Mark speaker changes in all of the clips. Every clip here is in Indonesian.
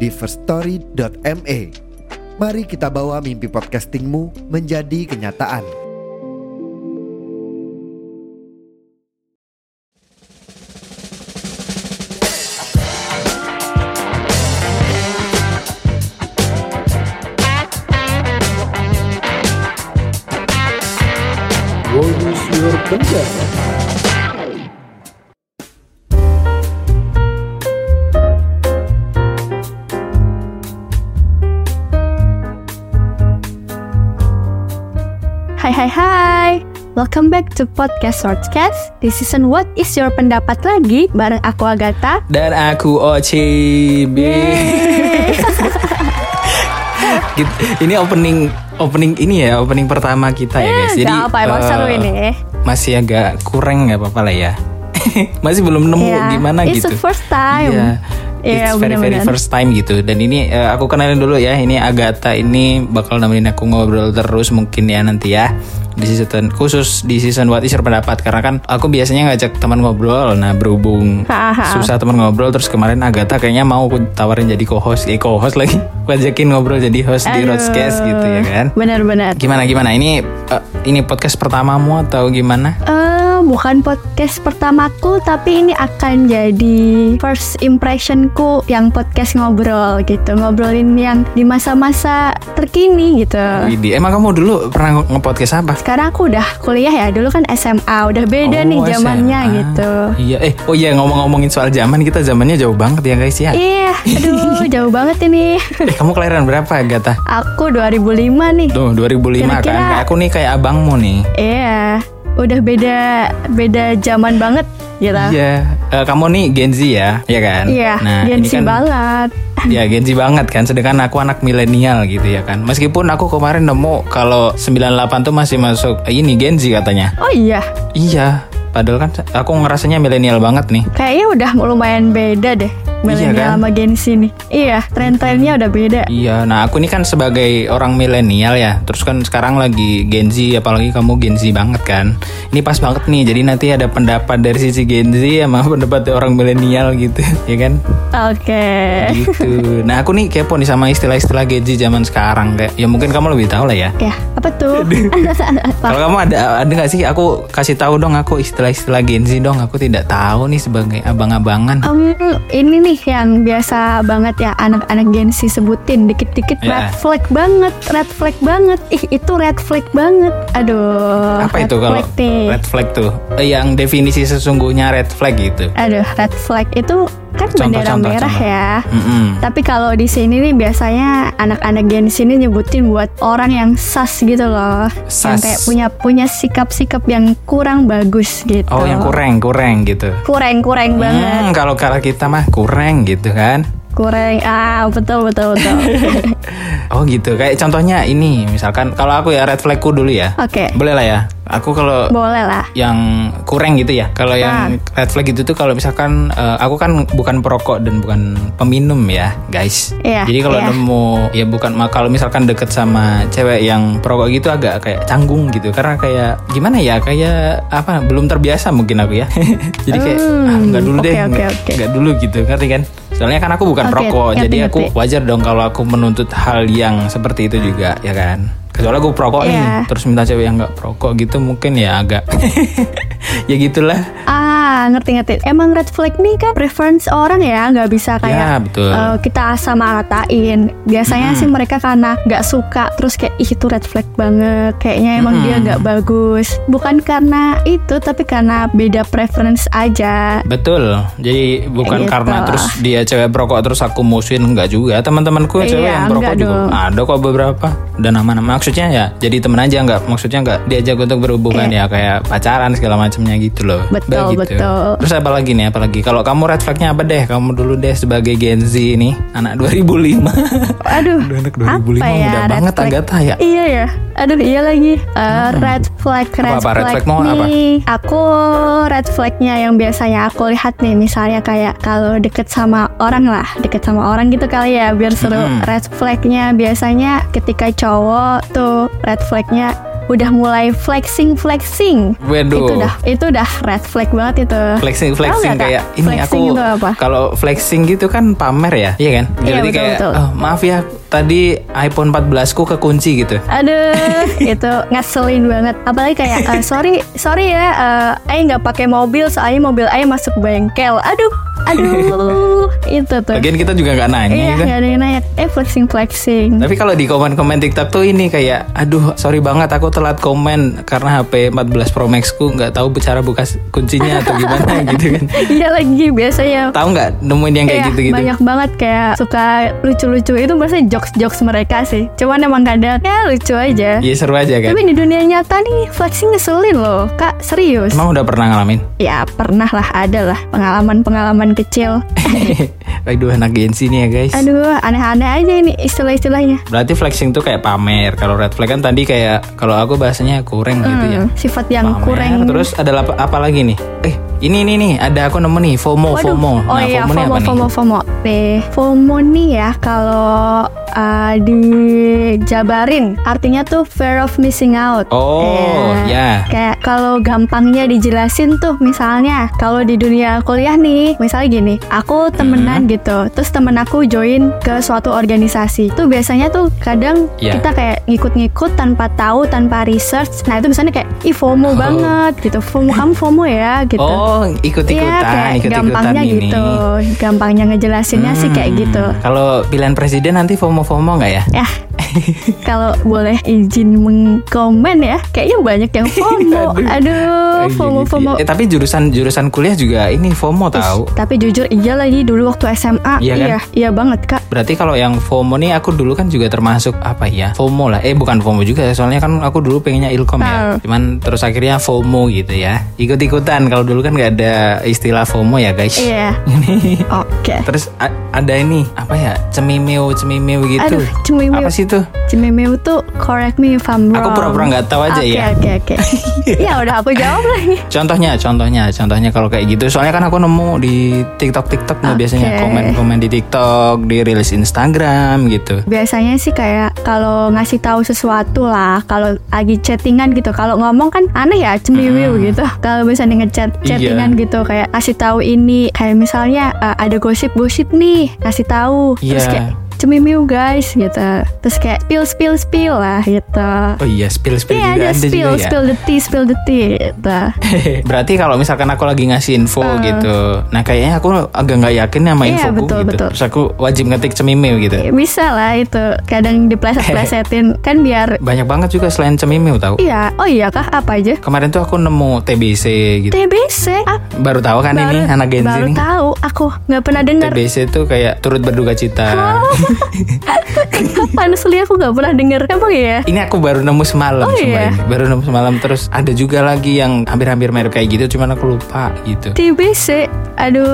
Speaker 1: di firststory.me. Mari kita bawa mimpi podcastingmu menjadi kenyataan.
Speaker 2: Bonus your penjara.
Speaker 3: Hai hai hai Welcome back to Podcast Shortcast Di season What is your pendapat lagi Bareng aku Agatha
Speaker 4: Dan aku OCB Gitu. Ini opening opening ini ya opening pertama kita ya guys.
Speaker 3: Eh,
Speaker 4: Jadi
Speaker 3: nggak apa, emang
Speaker 4: eh,
Speaker 3: seru ini.
Speaker 4: Masih agak kurang nggak apa-apa lah ya. masih belum nemu
Speaker 3: Iya,
Speaker 4: gimana
Speaker 3: it's
Speaker 4: gitu.
Speaker 3: the first time.
Speaker 4: Iya.
Speaker 3: Iya,
Speaker 4: It's very very
Speaker 3: benar-benar.
Speaker 4: first time gitu. Dan ini eh, aku kenalin dulu ya. Ini Agatha ini bakal nemenin aku ngobrol terus mungkin ya nanti ya di season khusus di season what is your pendapat karena kan aku biasanya ngajak teman ngobrol. Nah berhubung
Speaker 3: Ha, ha, ha.
Speaker 4: susah teman ngobrol terus kemarin Agatha kayaknya mau aku tawarin jadi co-host, eh co-host lagi. Aku ajakin ngobrol jadi host di
Speaker 3: Aduh.
Speaker 4: Roadcast gitu ya kan.
Speaker 3: Benar-benar
Speaker 4: Gimana gimana ini eh, ini podcast pertamamu atau gimana?
Speaker 3: Eh, bukan podcast pertamaku tapi ini akan jadi first impressionku yang podcast ngobrol gitu ngobrolin yang di masa-masa terkini gitu
Speaker 4: Widih, emang kamu dulu pernah nge- nge-podcast apa?
Speaker 3: sekarang aku udah kuliah ya dulu kan SMA udah beda
Speaker 4: Oh,
Speaker 3: nih
Speaker 4: SMA.
Speaker 3: zamannya gitu
Speaker 4: Iya, eh oh iya ngomong-ngomongin soal zaman kita zamannya jauh banget ya guys ya.
Speaker 3: iya aduh jauh banget ini
Speaker 4: Eh, kamu kelahiran berapa Gata?
Speaker 3: aku 2005 nih
Speaker 4: Tuh 2005
Speaker 3: Kira-kira-
Speaker 4: kan. Kayak Aku nih kayak abangmu nih.
Speaker 3: Iya, udah beda beda zaman banget gitu.
Speaker 4: Iya, Eh, kamu nih Gen Z ya, ya kan?
Speaker 3: Iya,
Speaker 4: Nah,
Speaker 3: Gen
Speaker 4: ini
Speaker 3: Z
Speaker 4: kan
Speaker 3: banget.
Speaker 4: ya Gen Z banget kan. Sedangkan aku anak milenial gitu ya kan. Meskipun aku kemarin nemu kalau 98 tuh masih masuk eh, ini Gen Z katanya.
Speaker 3: Oh iya,
Speaker 4: Iya, padahal kan aku ngerasanya milenial banget nih.
Speaker 3: kayaknya udah lumayan beda deh. Milenial
Speaker 4: kan?
Speaker 3: sama Gen Z nih. Iya, tren-trennya udah beda.
Speaker 4: Iya, nah aku ini kan sebagai orang milenial ya, terus kan sekarang lagi Gen Z, apalagi kamu Gen Z banget kan. Ini pas banget nih, jadi nanti ada pendapat dari sisi Gen Z sama pendapat orang milenial gitu, ya kan?
Speaker 3: Oke.
Speaker 4: Gitu. Nah aku nih kepo nih sama istilah-istilah Gen Z zaman sekarang kayak, ya mungkin kamu lebih tahu lah ya.
Speaker 3: Ya, apa tuh?
Speaker 4: Kalau kamu ada ada nggak sih? Aku kasih tahu dong aku istilah-istilah Gen Z dong. Aku tidak tahu nih sebagai abang-abangan.
Speaker 3: Em, ini nih yang biasa banget ya anak-anak Gen Z sebutin dikit-dikit red
Speaker 4: Iya.
Speaker 3: flag banget, red flag banget. Ih, itu red flag banget. Aduh.
Speaker 4: Apa
Speaker 3: red
Speaker 4: itu kalau
Speaker 3: flag nih.
Speaker 4: red flag tuh? Eh, Yang definisi sesungguhnya red flag gitu.
Speaker 3: Aduh, red flag itu kan bendera
Speaker 4: contoh,
Speaker 3: merah
Speaker 4: contoh.
Speaker 3: ya.
Speaker 4: Mm-mm.
Speaker 3: Tapi kalau di sini nih biasanya anak-anak gen sini nyebutin buat orang yang sas gitu loh, yang
Speaker 4: Sas.
Speaker 3: kayak punya punya sikap-sikap yang kurang bagus gitu.
Speaker 4: Oh, yang kurang, kurang gitu.
Speaker 3: kurang kurang banget,
Speaker 4: Hmm, kalau kalau kita mah kurang gitu kan.
Speaker 3: kurang ah betul betul betul.
Speaker 4: Oh gitu. Kayak contohnya ini misalkan kalau aku ya red flagku dulu ya.
Speaker 3: Oke,
Speaker 4: Boleh lah ya. Aku kalau
Speaker 3: boleh lah.
Speaker 4: yang kurang gitu ya. Kalau yang red flag itu tuh kalau misalkan eh, aku kan bukan perokok dan bukan peminum ya, guys.
Speaker 3: Iya,
Speaker 4: Jadi kalau
Speaker 3: iya.
Speaker 4: nemu ya bukan ma- kalau misalkan deket sama cewek yang perokok gitu agak kayak canggung gitu karena kayak gimana ya kayak apa belum terbiasa mungkin aku ya. Jadi kayak ah,
Speaker 3: Hmm,
Speaker 4: nggak dulu deh,
Speaker 3: oke, oke,
Speaker 4: nggak
Speaker 3: oke.
Speaker 4: nggak dulu gitu, ngerti kan? Soalnya kan aku bukan
Speaker 3: Oke,
Speaker 4: perokok,
Speaker 3: ngerti,
Speaker 4: jadi aku
Speaker 3: ngerti.
Speaker 4: wajar dong kalau aku menuntut hal yang seperti itu juga, ya kan? Kecuali aku perokok
Speaker 3: Iya.
Speaker 4: nih, terus minta cewek yang nggak perokok gitu mungkin ya agak ya gitulah.
Speaker 3: Ah ngerti ngerti. Emang red flag nih kan preference orang ya, nggak bisa kayak
Speaker 4: Ya betul.
Speaker 3: eh, kita sama ratain biasanya sih mereka karena nggak suka terus kayak ih itu red flag banget kayaknya emang
Speaker 4: Mm-mm.
Speaker 3: dia nggak bagus bukan karena itu tapi karena beda preference aja
Speaker 4: Betul. Jadi bukan
Speaker 3: Gitu.
Speaker 4: karena terus dia cewek perokok terus aku musuhin enggak juga. Teman-temanku cewek
Speaker 3: Iya,
Speaker 4: yang perokok
Speaker 3: enggak
Speaker 4: juga
Speaker 3: dong.
Speaker 4: ada kok beberapa dan nama-nama aku maksudnya ya jadi temen aja nggak maksudnya nggak diajak untuk berhubungan ya kayak pacaran segala macamnya gitu loh
Speaker 3: Iya. Betul,
Speaker 4: Begitu.
Speaker 3: betul.
Speaker 4: terus apa lagi nih apalagi kalau kamu red flagnya apa deh kamu dulu deh sebagai Gen Z ini anak 2005
Speaker 3: Aduh,
Speaker 4: Udah anak
Speaker 3: apa
Speaker 4: 2005
Speaker 3: ya
Speaker 4: muda
Speaker 3: red
Speaker 4: banget
Speaker 3: flag?
Speaker 4: Agatha ya.
Speaker 3: Iya ya. Aduh, iya lagi. Eh, red flag, red
Speaker 4: Apa-apa, red
Speaker 3: flag.
Speaker 4: flag mau apa?
Speaker 3: nih. Aku red flagnya yang biasanya aku lihat nih, misalnya kayak kalau deket sama orang lah, deket sama orang gitu kali ya, biar seru.
Speaker 4: Mm-mm.
Speaker 3: Red flagnya biasanya ketika cowok tuh red flagnya udah mulai flexing flexing.
Speaker 4: Waduh.
Speaker 3: Itu udah itu udah red flag banget itu.
Speaker 4: flexing
Speaker 3: Tahu
Speaker 4: flexing
Speaker 3: nggak, Kak?
Speaker 4: kayak ini
Speaker 3: Flexing
Speaker 4: aku
Speaker 3: itu apa?
Speaker 4: kalau flexing gitu kan pamer ya iya kan
Speaker 3: Iya,
Speaker 4: jadi
Speaker 3: betul,
Speaker 4: kayak
Speaker 3: betul.
Speaker 4: "Oh, maaf ya tadi iPhone 14 ku kekunci gitu
Speaker 3: Aduh, itu ngeselin banget. Apalagi kayak eh, sorry, sorry ya, eh Aing nggak pakai mobil soalnya mobil Aing masuk bengkel. Aduh, aduh, itu tuh.
Speaker 4: lagian kita juga nggak nanya
Speaker 3: iya,
Speaker 4: gitu.
Speaker 3: nggak ada yang nanya. Eh flexing flexing.
Speaker 4: Tapi kalau di komen-komen TikTok tuh ini kayak aduh sorry banget aku telat komen karena HP 14 Pro Max ku nggak tahu cara buka s- kuncinya atau gimana gitu kan.
Speaker 3: Iya lagi biasanya.
Speaker 4: Tahu nggak nemuin yang kayak
Speaker 3: Iya,
Speaker 4: gitu-gitu?
Speaker 3: banyak banget kayak suka lucu-lucu itu biasanya jokes-jokes mereka sih. Cuman emang kadang ya lucu aja.
Speaker 4: Iya seru aja kan.
Speaker 3: Tapi di dunia nyata nih flexing ngeselin loh, Kak. Serius.
Speaker 4: Emang udah pernah ngalamin?
Speaker 3: Ya pernah lah ada lah pengalaman-pengalaman kecil.
Speaker 4: Aduh anak Gen Z nih ya guys.
Speaker 3: Aduh, aneh-aneh aja ini istilah-istilahnya.
Speaker 4: Berarti flexing tuh kayak pamer. Kalau red flag kan tadi kayak kalau aku bahasanya kurang gitu ya.
Speaker 3: Hmm, sifat yang
Speaker 4: Pamer.
Speaker 3: kurang.
Speaker 4: Terus ada lap- apa, lagi nih? Eh ini ini nih ada aku nemu nih FOMO
Speaker 3: Waduh.
Speaker 4: FOMO.
Speaker 3: Oh
Speaker 4: Nah,
Speaker 3: iya,
Speaker 4: FOMO, nih
Speaker 3: FOMO,
Speaker 4: apa
Speaker 3: FOMO,
Speaker 4: nih?
Speaker 3: FOMO. Nih, FOMO nih ya kalau uh, dijabarin artinya tuh fear of missing out.
Speaker 4: Oh,
Speaker 3: Eh,
Speaker 4: ya.
Speaker 3: Kayak kalau gampangnya dijelasin tuh misalnya kalau di dunia kuliah nih, misalnya gini, aku temenan
Speaker 4: Hmm.
Speaker 3: gitu, terus temen aku join ke suatu organisasi. Tuh biasanya tuh kadang
Speaker 4: Ya.
Speaker 3: kita kayak ngikut-ngikut tanpa tahu, tanpa research. Nah, itu misalnya kayak ih FOMO
Speaker 4: Oh.
Speaker 3: banget gitu. FOMO kamu FOMO ya gitu.
Speaker 4: Oh
Speaker 3: Iya,
Speaker 4: ikut-ikutan,
Speaker 3: kayak
Speaker 4: ikut-ikutan
Speaker 3: gampangnya
Speaker 4: ini.
Speaker 3: gitu. Gampangnya ngejelasinnya sih kayak
Speaker 4: Hmm,
Speaker 3: gitu.
Speaker 4: Kalau pilihan presiden nanti FOMO-FOMO nggak ya?
Speaker 3: Ya. Kalau boleh izin mengkomen ya, kayaknya banyak
Speaker 4: Iya,
Speaker 3: yang FOMO. Aduh,
Speaker 4: Kayak
Speaker 3: Oh, FOMO
Speaker 4: Oh, gitu
Speaker 3: FOMO.
Speaker 4: ya. Eh, tapi jurusan jurusan kuliah juga ini FOMO tahu.
Speaker 3: Tapi jujur iya lagi dulu waktu SMA,
Speaker 4: Iya kan?
Speaker 3: iya, iya banget, Kak.
Speaker 4: Berarti kalau yang FOMO nih aku dulu kan juga termasuk apa ya? FOMO lah. Eh bukan FOMO juga ya, soalnya kan aku dulu pengennya Ilkom ya.
Speaker 3: Tahu.
Speaker 4: Cuman terus akhirnya FOMO gitu ya. Ikut-ikutan. Kalau dulu kan nggak ada istilah FOMO ya, guys.
Speaker 3: Iya.
Speaker 4: Ini.
Speaker 3: Oke.
Speaker 4: terus a- ada ini apa ya? Cemimeu, cemimeu gitu.
Speaker 3: Aduh, cemimeu.
Speaker 4: Apa sih itu?
Speaker 3: Cemimeu tuh correct me if I'm wrong.
Speaker 4: Aku pura-pura nggak tahu aja ya.
Speaker 3: Oke, oke, oke. Ya udah aku jawab lagi.
Speaker 4: Contohnya, contohnya, contohnya kalau kayak gitu. Soalnya kan aku nemu di TikTok, TikTok nih
Speaker 3: Oke.
Speaker 4: biasanya komen-komen di TikTok, di reels Instagram gitu.
Speaker 3: Biasanya sih kayak kalau ngasih tahu sesuatu lah, kalau lagi chattingan gitu. Kalau ngomong kan aneh ya, cemiliu gitu. Kalau misalnya ngechat
Speaker 4: Iya.
Speaker 3: chattingan gitu kayak ngasih tahu ini, kayak misalnya eh, ada gosip-gosip nih, ngasih tahu. Terus
Speaker 4: Iya.
Speaker 3: kayak cemimiu guys gitu. Terus kayak spill spill spill lah gitu.
Speaker 4: Oh iya, spill spill
Speaker 3: Iya
Speaker 4: juga
Speaker 3: ada
Speaker 4: ada
Speaker 3: spill
Speaker 4: juga ya.
Speaker 3: spill the tea spill the tea gitu.
Speaker 4: Berarti kalau misalkan aku lagi ngasih info gitu, nah kayaknya aku agak nggak yakin sama
Speaker 3: Ah. Iya,
Speaker 4: infoku
Speaker 3: betul,
Speaker 4: gitu.
Speaker 3: betul. Iya.
Speaker 4: Terus aku wajib ngetik cemimil gitu.
Speaker 3: Bisa lah itu. Kadang dipleset-plesetin kan biar
Speaker 4: Banyak banget juga selain cemimil tahu.
Speaker 3: iya. Oh iya kah apa aja?
Speaker 4: Kemarin tuh aku nemu TBC gitu.
Speaker 3: TBC apa?
Speaker 4: Baru tahu kan ini anak Gen Z
Speaker 3: baru
Speaker 4: nih.
Speaker 3: tahu aku nggak pernah dengar
Speaker 4: TBC tuh kayak turut berduka cita.
Speaker 3: kapan asli aku nggak pernah dengar emang ya
Speaker 4: Ini aku baru nemu semalam,
Speaker 3: Oh,
Speaker 4: sumpah
Speaker 3: iya?
Speaker 4: ini. baru nemu semalam. Terus ada juga lagi yang hampir-hampir mirip kayak gitu, cuman aku lupa gitu.
Speaker 3: TBC aduh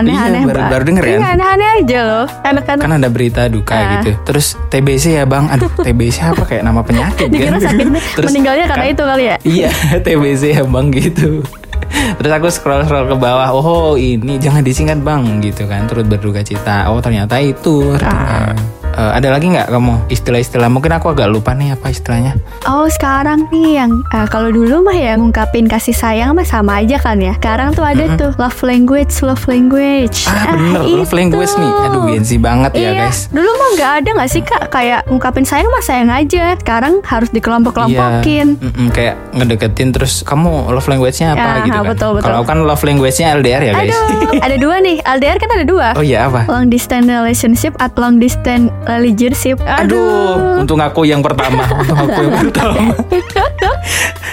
Speaker 3: aneh-aneh
Speaker 4: Iya, baru-
Speaker 3: banget.
Speaker 4: baru denger ya?
Speaker 3: Iya, aneh-aneh aja loh anak-anak
Speaker 4: Kan ada berita duka
Speaker 3: Ah.
Speaker 4: gitu. Terus TBC ya bang, aduh TBC apa kayak nama penyakit
Speaker 3: dikira
Speaker 4: kan?
Speaker 3: sakit meninggalnya karena
Speaker 4: kan-
Speaker 3: itu kali ya
Speaker 4: Iya, TBC emang gitu. Terus aku scroll scroll ke bawah, oh ini jangan disingkat bang gitu kan, turut berduka cita. Oh ternyata itu.
Speaker 3: Ah.
Speaker 4: artinya. Eh, ada lagi nggak kamu istilah-istilah? Mungkin aku agak lupa nih apa istilahnya.
Speaker 3: Oh sekarang nih yang eh, kalau dulu mah ya ngungkapin kasih sayang mah sama aja kan ya. Sekarang tuh ada tuh love language, love language.
Speaker 4: Ah bener,
Speaker 3: itu.
Speaker 4: love language nih. Aduh gengsi banget ya
Speaker 3: Iya,
Speaker 4: guys.
Speaker 3: dulu mah nggak ada nggak sih kak kayak ngungkapin sayang mah sayang aja. Sekarang harus dikelompok-kelompokin.
Speaker 4: Iya. Mm-mm, kayak ngedeketin terus kamu love language-nya apa
Speaker 3: Ya,
Speaker 4: gitu kan.
Speaker 3: betul, betul.
Speaker 4: Kalau aku kan love language-nya LDR ya guys.
Speaker 3: Aduh, ada dua nih. LDR kan ada dua.
Speaker 4: Oh iya apa?
Speaker 3: Long distance relationship atau long distance relationship.
Speaker 4: Aduh,
Speaker 3: Aduh.
Speaker 4: untung aku yang pertama, untung aku yang pertama.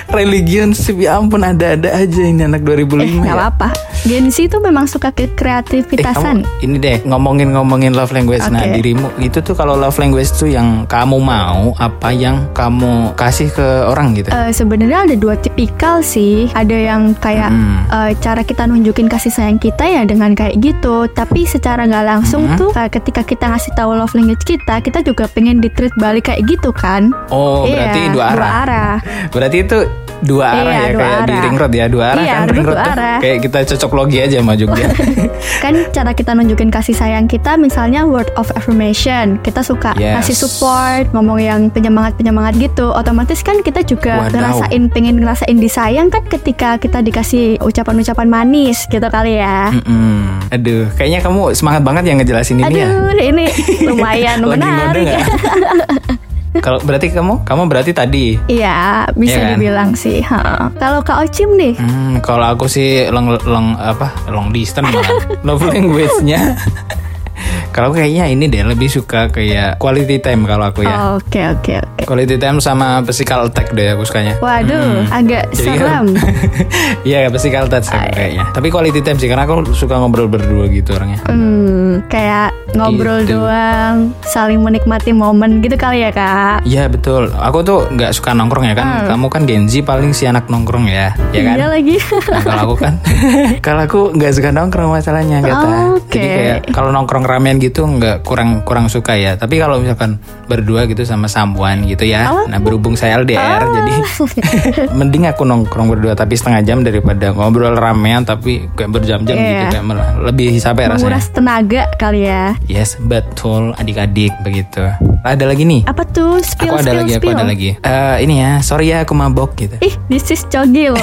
Speaker 4: Religionship ya ampun ada-ada aja ini anak 2005
Speaker 3: Eh, nggak
Speaker 4: ya.
Speaker 3: apa-apa. Gen Z tuh memang suka ke
Speaker 4: Eh,
Speaker 3: kreativitasan.
Speaker 4: kamu ini deh ngomongin-ngomongin love language. Nah,
Speaker 3: Oke.
Speaker 4: dirimu itu tuh kalau love language tuh yang kamu mau apa yang kamu kasih ke orang gitu.
Speaker 3: Eh, Sebenarnya ada dua tipikal sih. Ada yang kayak
Speaker 4: Hmm.
Speaker 3: eh, cara kita nunjukin kasih sayang kita ya dengan kayak gitu. Tapi secara nggak langsung
Speaker 4: Hmm.
Speaker 3: tuh kayak ketika kita ngasih tahu love language kita, kita juga pengen ditreat balik kayak gitu kan?
Speaker 4: oh,
Speaker 3: Iya,
Speaker 4: berarti dua arah. Berarti itu dua
Speaker 3: Iya,
Speaker 4: arah ya
Speaker 3: dua
Speaker 4: kayak di
Speaker 3: arah.
Speaker 4: ring road ya, dua arah
Speaker 3: Iya,
Speaker 4: kan ring
Speaker 3: dulu
Speaker 4: road
Speaker 3: dua
Speaker 4: tuh.
Speaker 3: arah.
Speaker 4: Kayak kita cocok logi aja sama Jogja.
Speaker 3: Kan cara kita nunjukin kasih sayang kita misalnya word of affirmation. Kita suka
Speaker 4: Yes.
Speaker 3: kasih support, ngomong yang penyemangat-penyemangat gitu. Otomatis kan kita juga
Speaker 4: Wadaw.
Speaker 3: ngerasain pengen ngerasain disayang kan ketika kita dikasih ucapan-ucapan manis gitu kali ya.
Speaker 4: Mm-mm. Aduh, kayaknya kamu semangat banget yang ngejelasin ini ya.
Speaker 3: Aduh, ini lumayan
Speaker 4: Lagi ngode
Speaker 3: menarik.
Speaker 4: nggak? Kalau berarti kamu, kamu berarti tadi.
Speaker 3: Iya, bisa
Speaker 4: Iya kan?
Speaker 3: dibilang sih. Ha. Kalau Kak Ocim nih,
Speaker 4: Hmm, kalau aku sih long long apa long distance malah. love language-nya. kalau aku kayaknya ini deh lebih suka kayak quality time kalau aku ya.
Speaker 3: oke oke oke.
Speaker 4: Quality time sama physical attack deh aku sukanya.
Speaker 3: Waduh, agak
Speaker 4: Hmm. Jadi kan
Speaker 3: serem.
Speaker 4: Iya, physical touch aku kayaknya. Tapi quality time sih karena aku suka ngobrol berdua gitu orangnya.
Speaker 3: Hmm, kayak ngobrol
Speaker 4: Gitu.
Speaker 3: doang, saling menikmati momen gitu kali ya kak?
Speaker 4: Iya betul. Aku tuh nggak suka nongkrong ya kan.
Speaker 3: Hmm.
Speaker 4: Kamu kan Genji paling si anak nongkrong ya, ya kan?
Speaker 3: Iya lagi.
Speaker 4: Nah, kalau aku kan, kalau aku nggak suka nongkrong masalahnya kata.
Speaker 3: Oke.
Speaker 4: Jadi kayak kalau nongkrong ramen gitu nggak kurang kurang suka ya. Tapi kalau misalkan berdua gitu sama sambuan gitu ya.
Speaker 3: Oh.
Speaker 4: Nah berhubung saya LDR jadi mending aku nongkrong berdua tapi setengah jam daripada ngobrol ramean tapi kayak berjam-jam
Speaker 3: Iya.
Speaker 4: gitu kayak malah lebih sampai rasanya.
Speaker 3: Menguras tenaga kali ya.
Speaker 4: Yes betul adik-adik begitu. Ada lagi nih.
Speaker 3: Apa tuh? Spill,
Speaker 4: aku ada
Speaker 3: spill,
Speaker 4: lagi,
Speaker 3: spill.
Speaker 4: aku ada lagi. Eh, ini ya, sorry ya aku mabok gitu.
Speaker 3: Ih, this is cogil.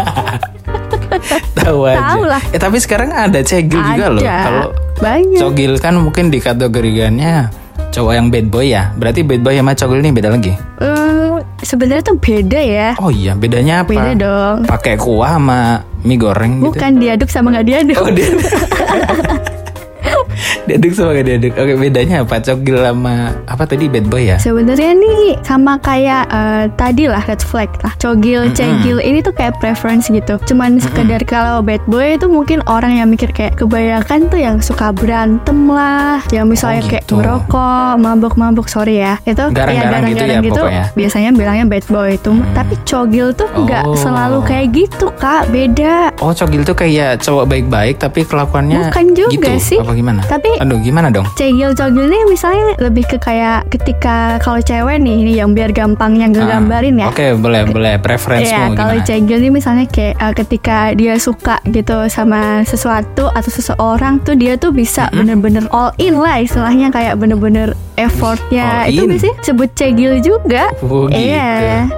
Speaker 4: Tahu aja.
Speaker 3: Tahu lah.
Speaker 4: Eh, tapi sekarang ada cegil Iya juga loh. Kalau
Speaker 3: ada. Banyak.
Speaker 4: Cogil kan mungkin dikategorikannya cowok yang bad boy ya. Berarti bad boy sama cogil ini beda lagi.
Speaker 3: Hmm, Sebenarnya tuh beda ya.
Speaker 4: Oh iya, bedanya apa?
Speaker 3: Beda dong.
Speaker 4: Pakai kuah sama mie goreng gitu.
Speaker 3: Bukan diaduk sama nggak diaduk.
Speaker 4: Oh, dia. diaduk sama gak diaduk. Oke, bedanya apa? Cogil sama apa tadi bad boy ya?
Speaker 3: Sebenarnya nih sama kayak eh, tadi lah red flag lah, cogil, cegil ini tuh kayak preference gitu. Cuman sekedar kalau bad boy itu mungkin orang yang mikir kayak kebanyakan tuh yang suka berantem lah, yang misalnya kayak
Speaker 4: gitu.
Speaker 3: merokok, mabuk-mabuk sorry ya, itu
Speaker 4: Garang-garang
Speaker 3: ya
Speaker 4: gitu ya pokoknya.
Speaker 3: biasanya bilangnya bad boy itu. Tapi cogil tuh nggak
Speaker 4: Oh.
Speaker 3: selalu kayak gitu kak, beda.
Speaker 4: Oh, cogil tuh kayak cowok baik-baik tapi kelakuannya
Speaker 3: Bukan juga
Speaker 4: gitu.
Speaker 3: sih.
Speaker 4: Apa gimana?
Speaker 3: Tapi
Speaker 4: Aduh, gimana dong?
Speaker 3: Cegil cogil ini misalnya lebih ke kayak ketika kalau cewek nih ini yang biar gampang yang
Speaker 4: Ah,
Speaker 3: gambarin ya.
Speaker 4: Oke, boleh, boleh.
Speaker 3: Iya,
Speaker 4: Preferensimu
Speaker 3: kalau
Speaker 4: gimana?
Speaker 3: cegil nih misalnya kayak uh, ketika dia suka gitu sama sesuatu atau seseorang tuh dia tuh bisa bener-bener all in lah istilahnya kayak bener-bener effortnya
Speaker 4: All
Speaker 3: itu
Speaker 4: in.
Speaker 3: biasanya sebut cegil juga.
Speaker 4: Oh, gitu.
Speaker 3: Iya,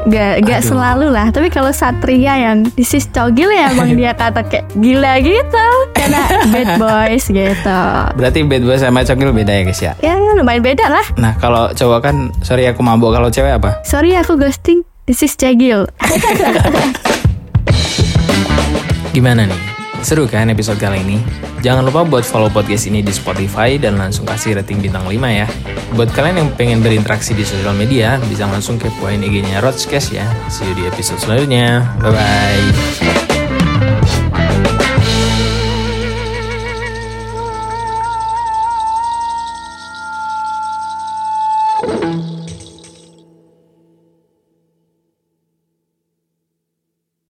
Speaker 3: gak, gak
Speaker 4: Aduh.
Speaker 3: selalu lah. Tapi kalau satria yang disis cogil ya emang dia kata kayak gila gitu karena bad boys gitu.
Speaker 4: Berarti bad boy sama cogil beda ya, guys ya?
Speaker 3: Ya lumayan beda lah.
Speaker 4: Nah kalau cowok kan sorry aku mabuk kalau cewek apa?
Speaker 3: Sorry aku ghosting. This is cegil.
Speaker 5: Gimana nih? Seru kan episode kali ini? Jangan lupa buat follow podcast ini di Spotify dan langsung kasih rating bintang 5 ya. Buat kalian yang pengen berinteraksi di sosial media, bisa langsung kepoin IG-nya Rodcast ya. See you di episode selanjutnya. Bye-bye.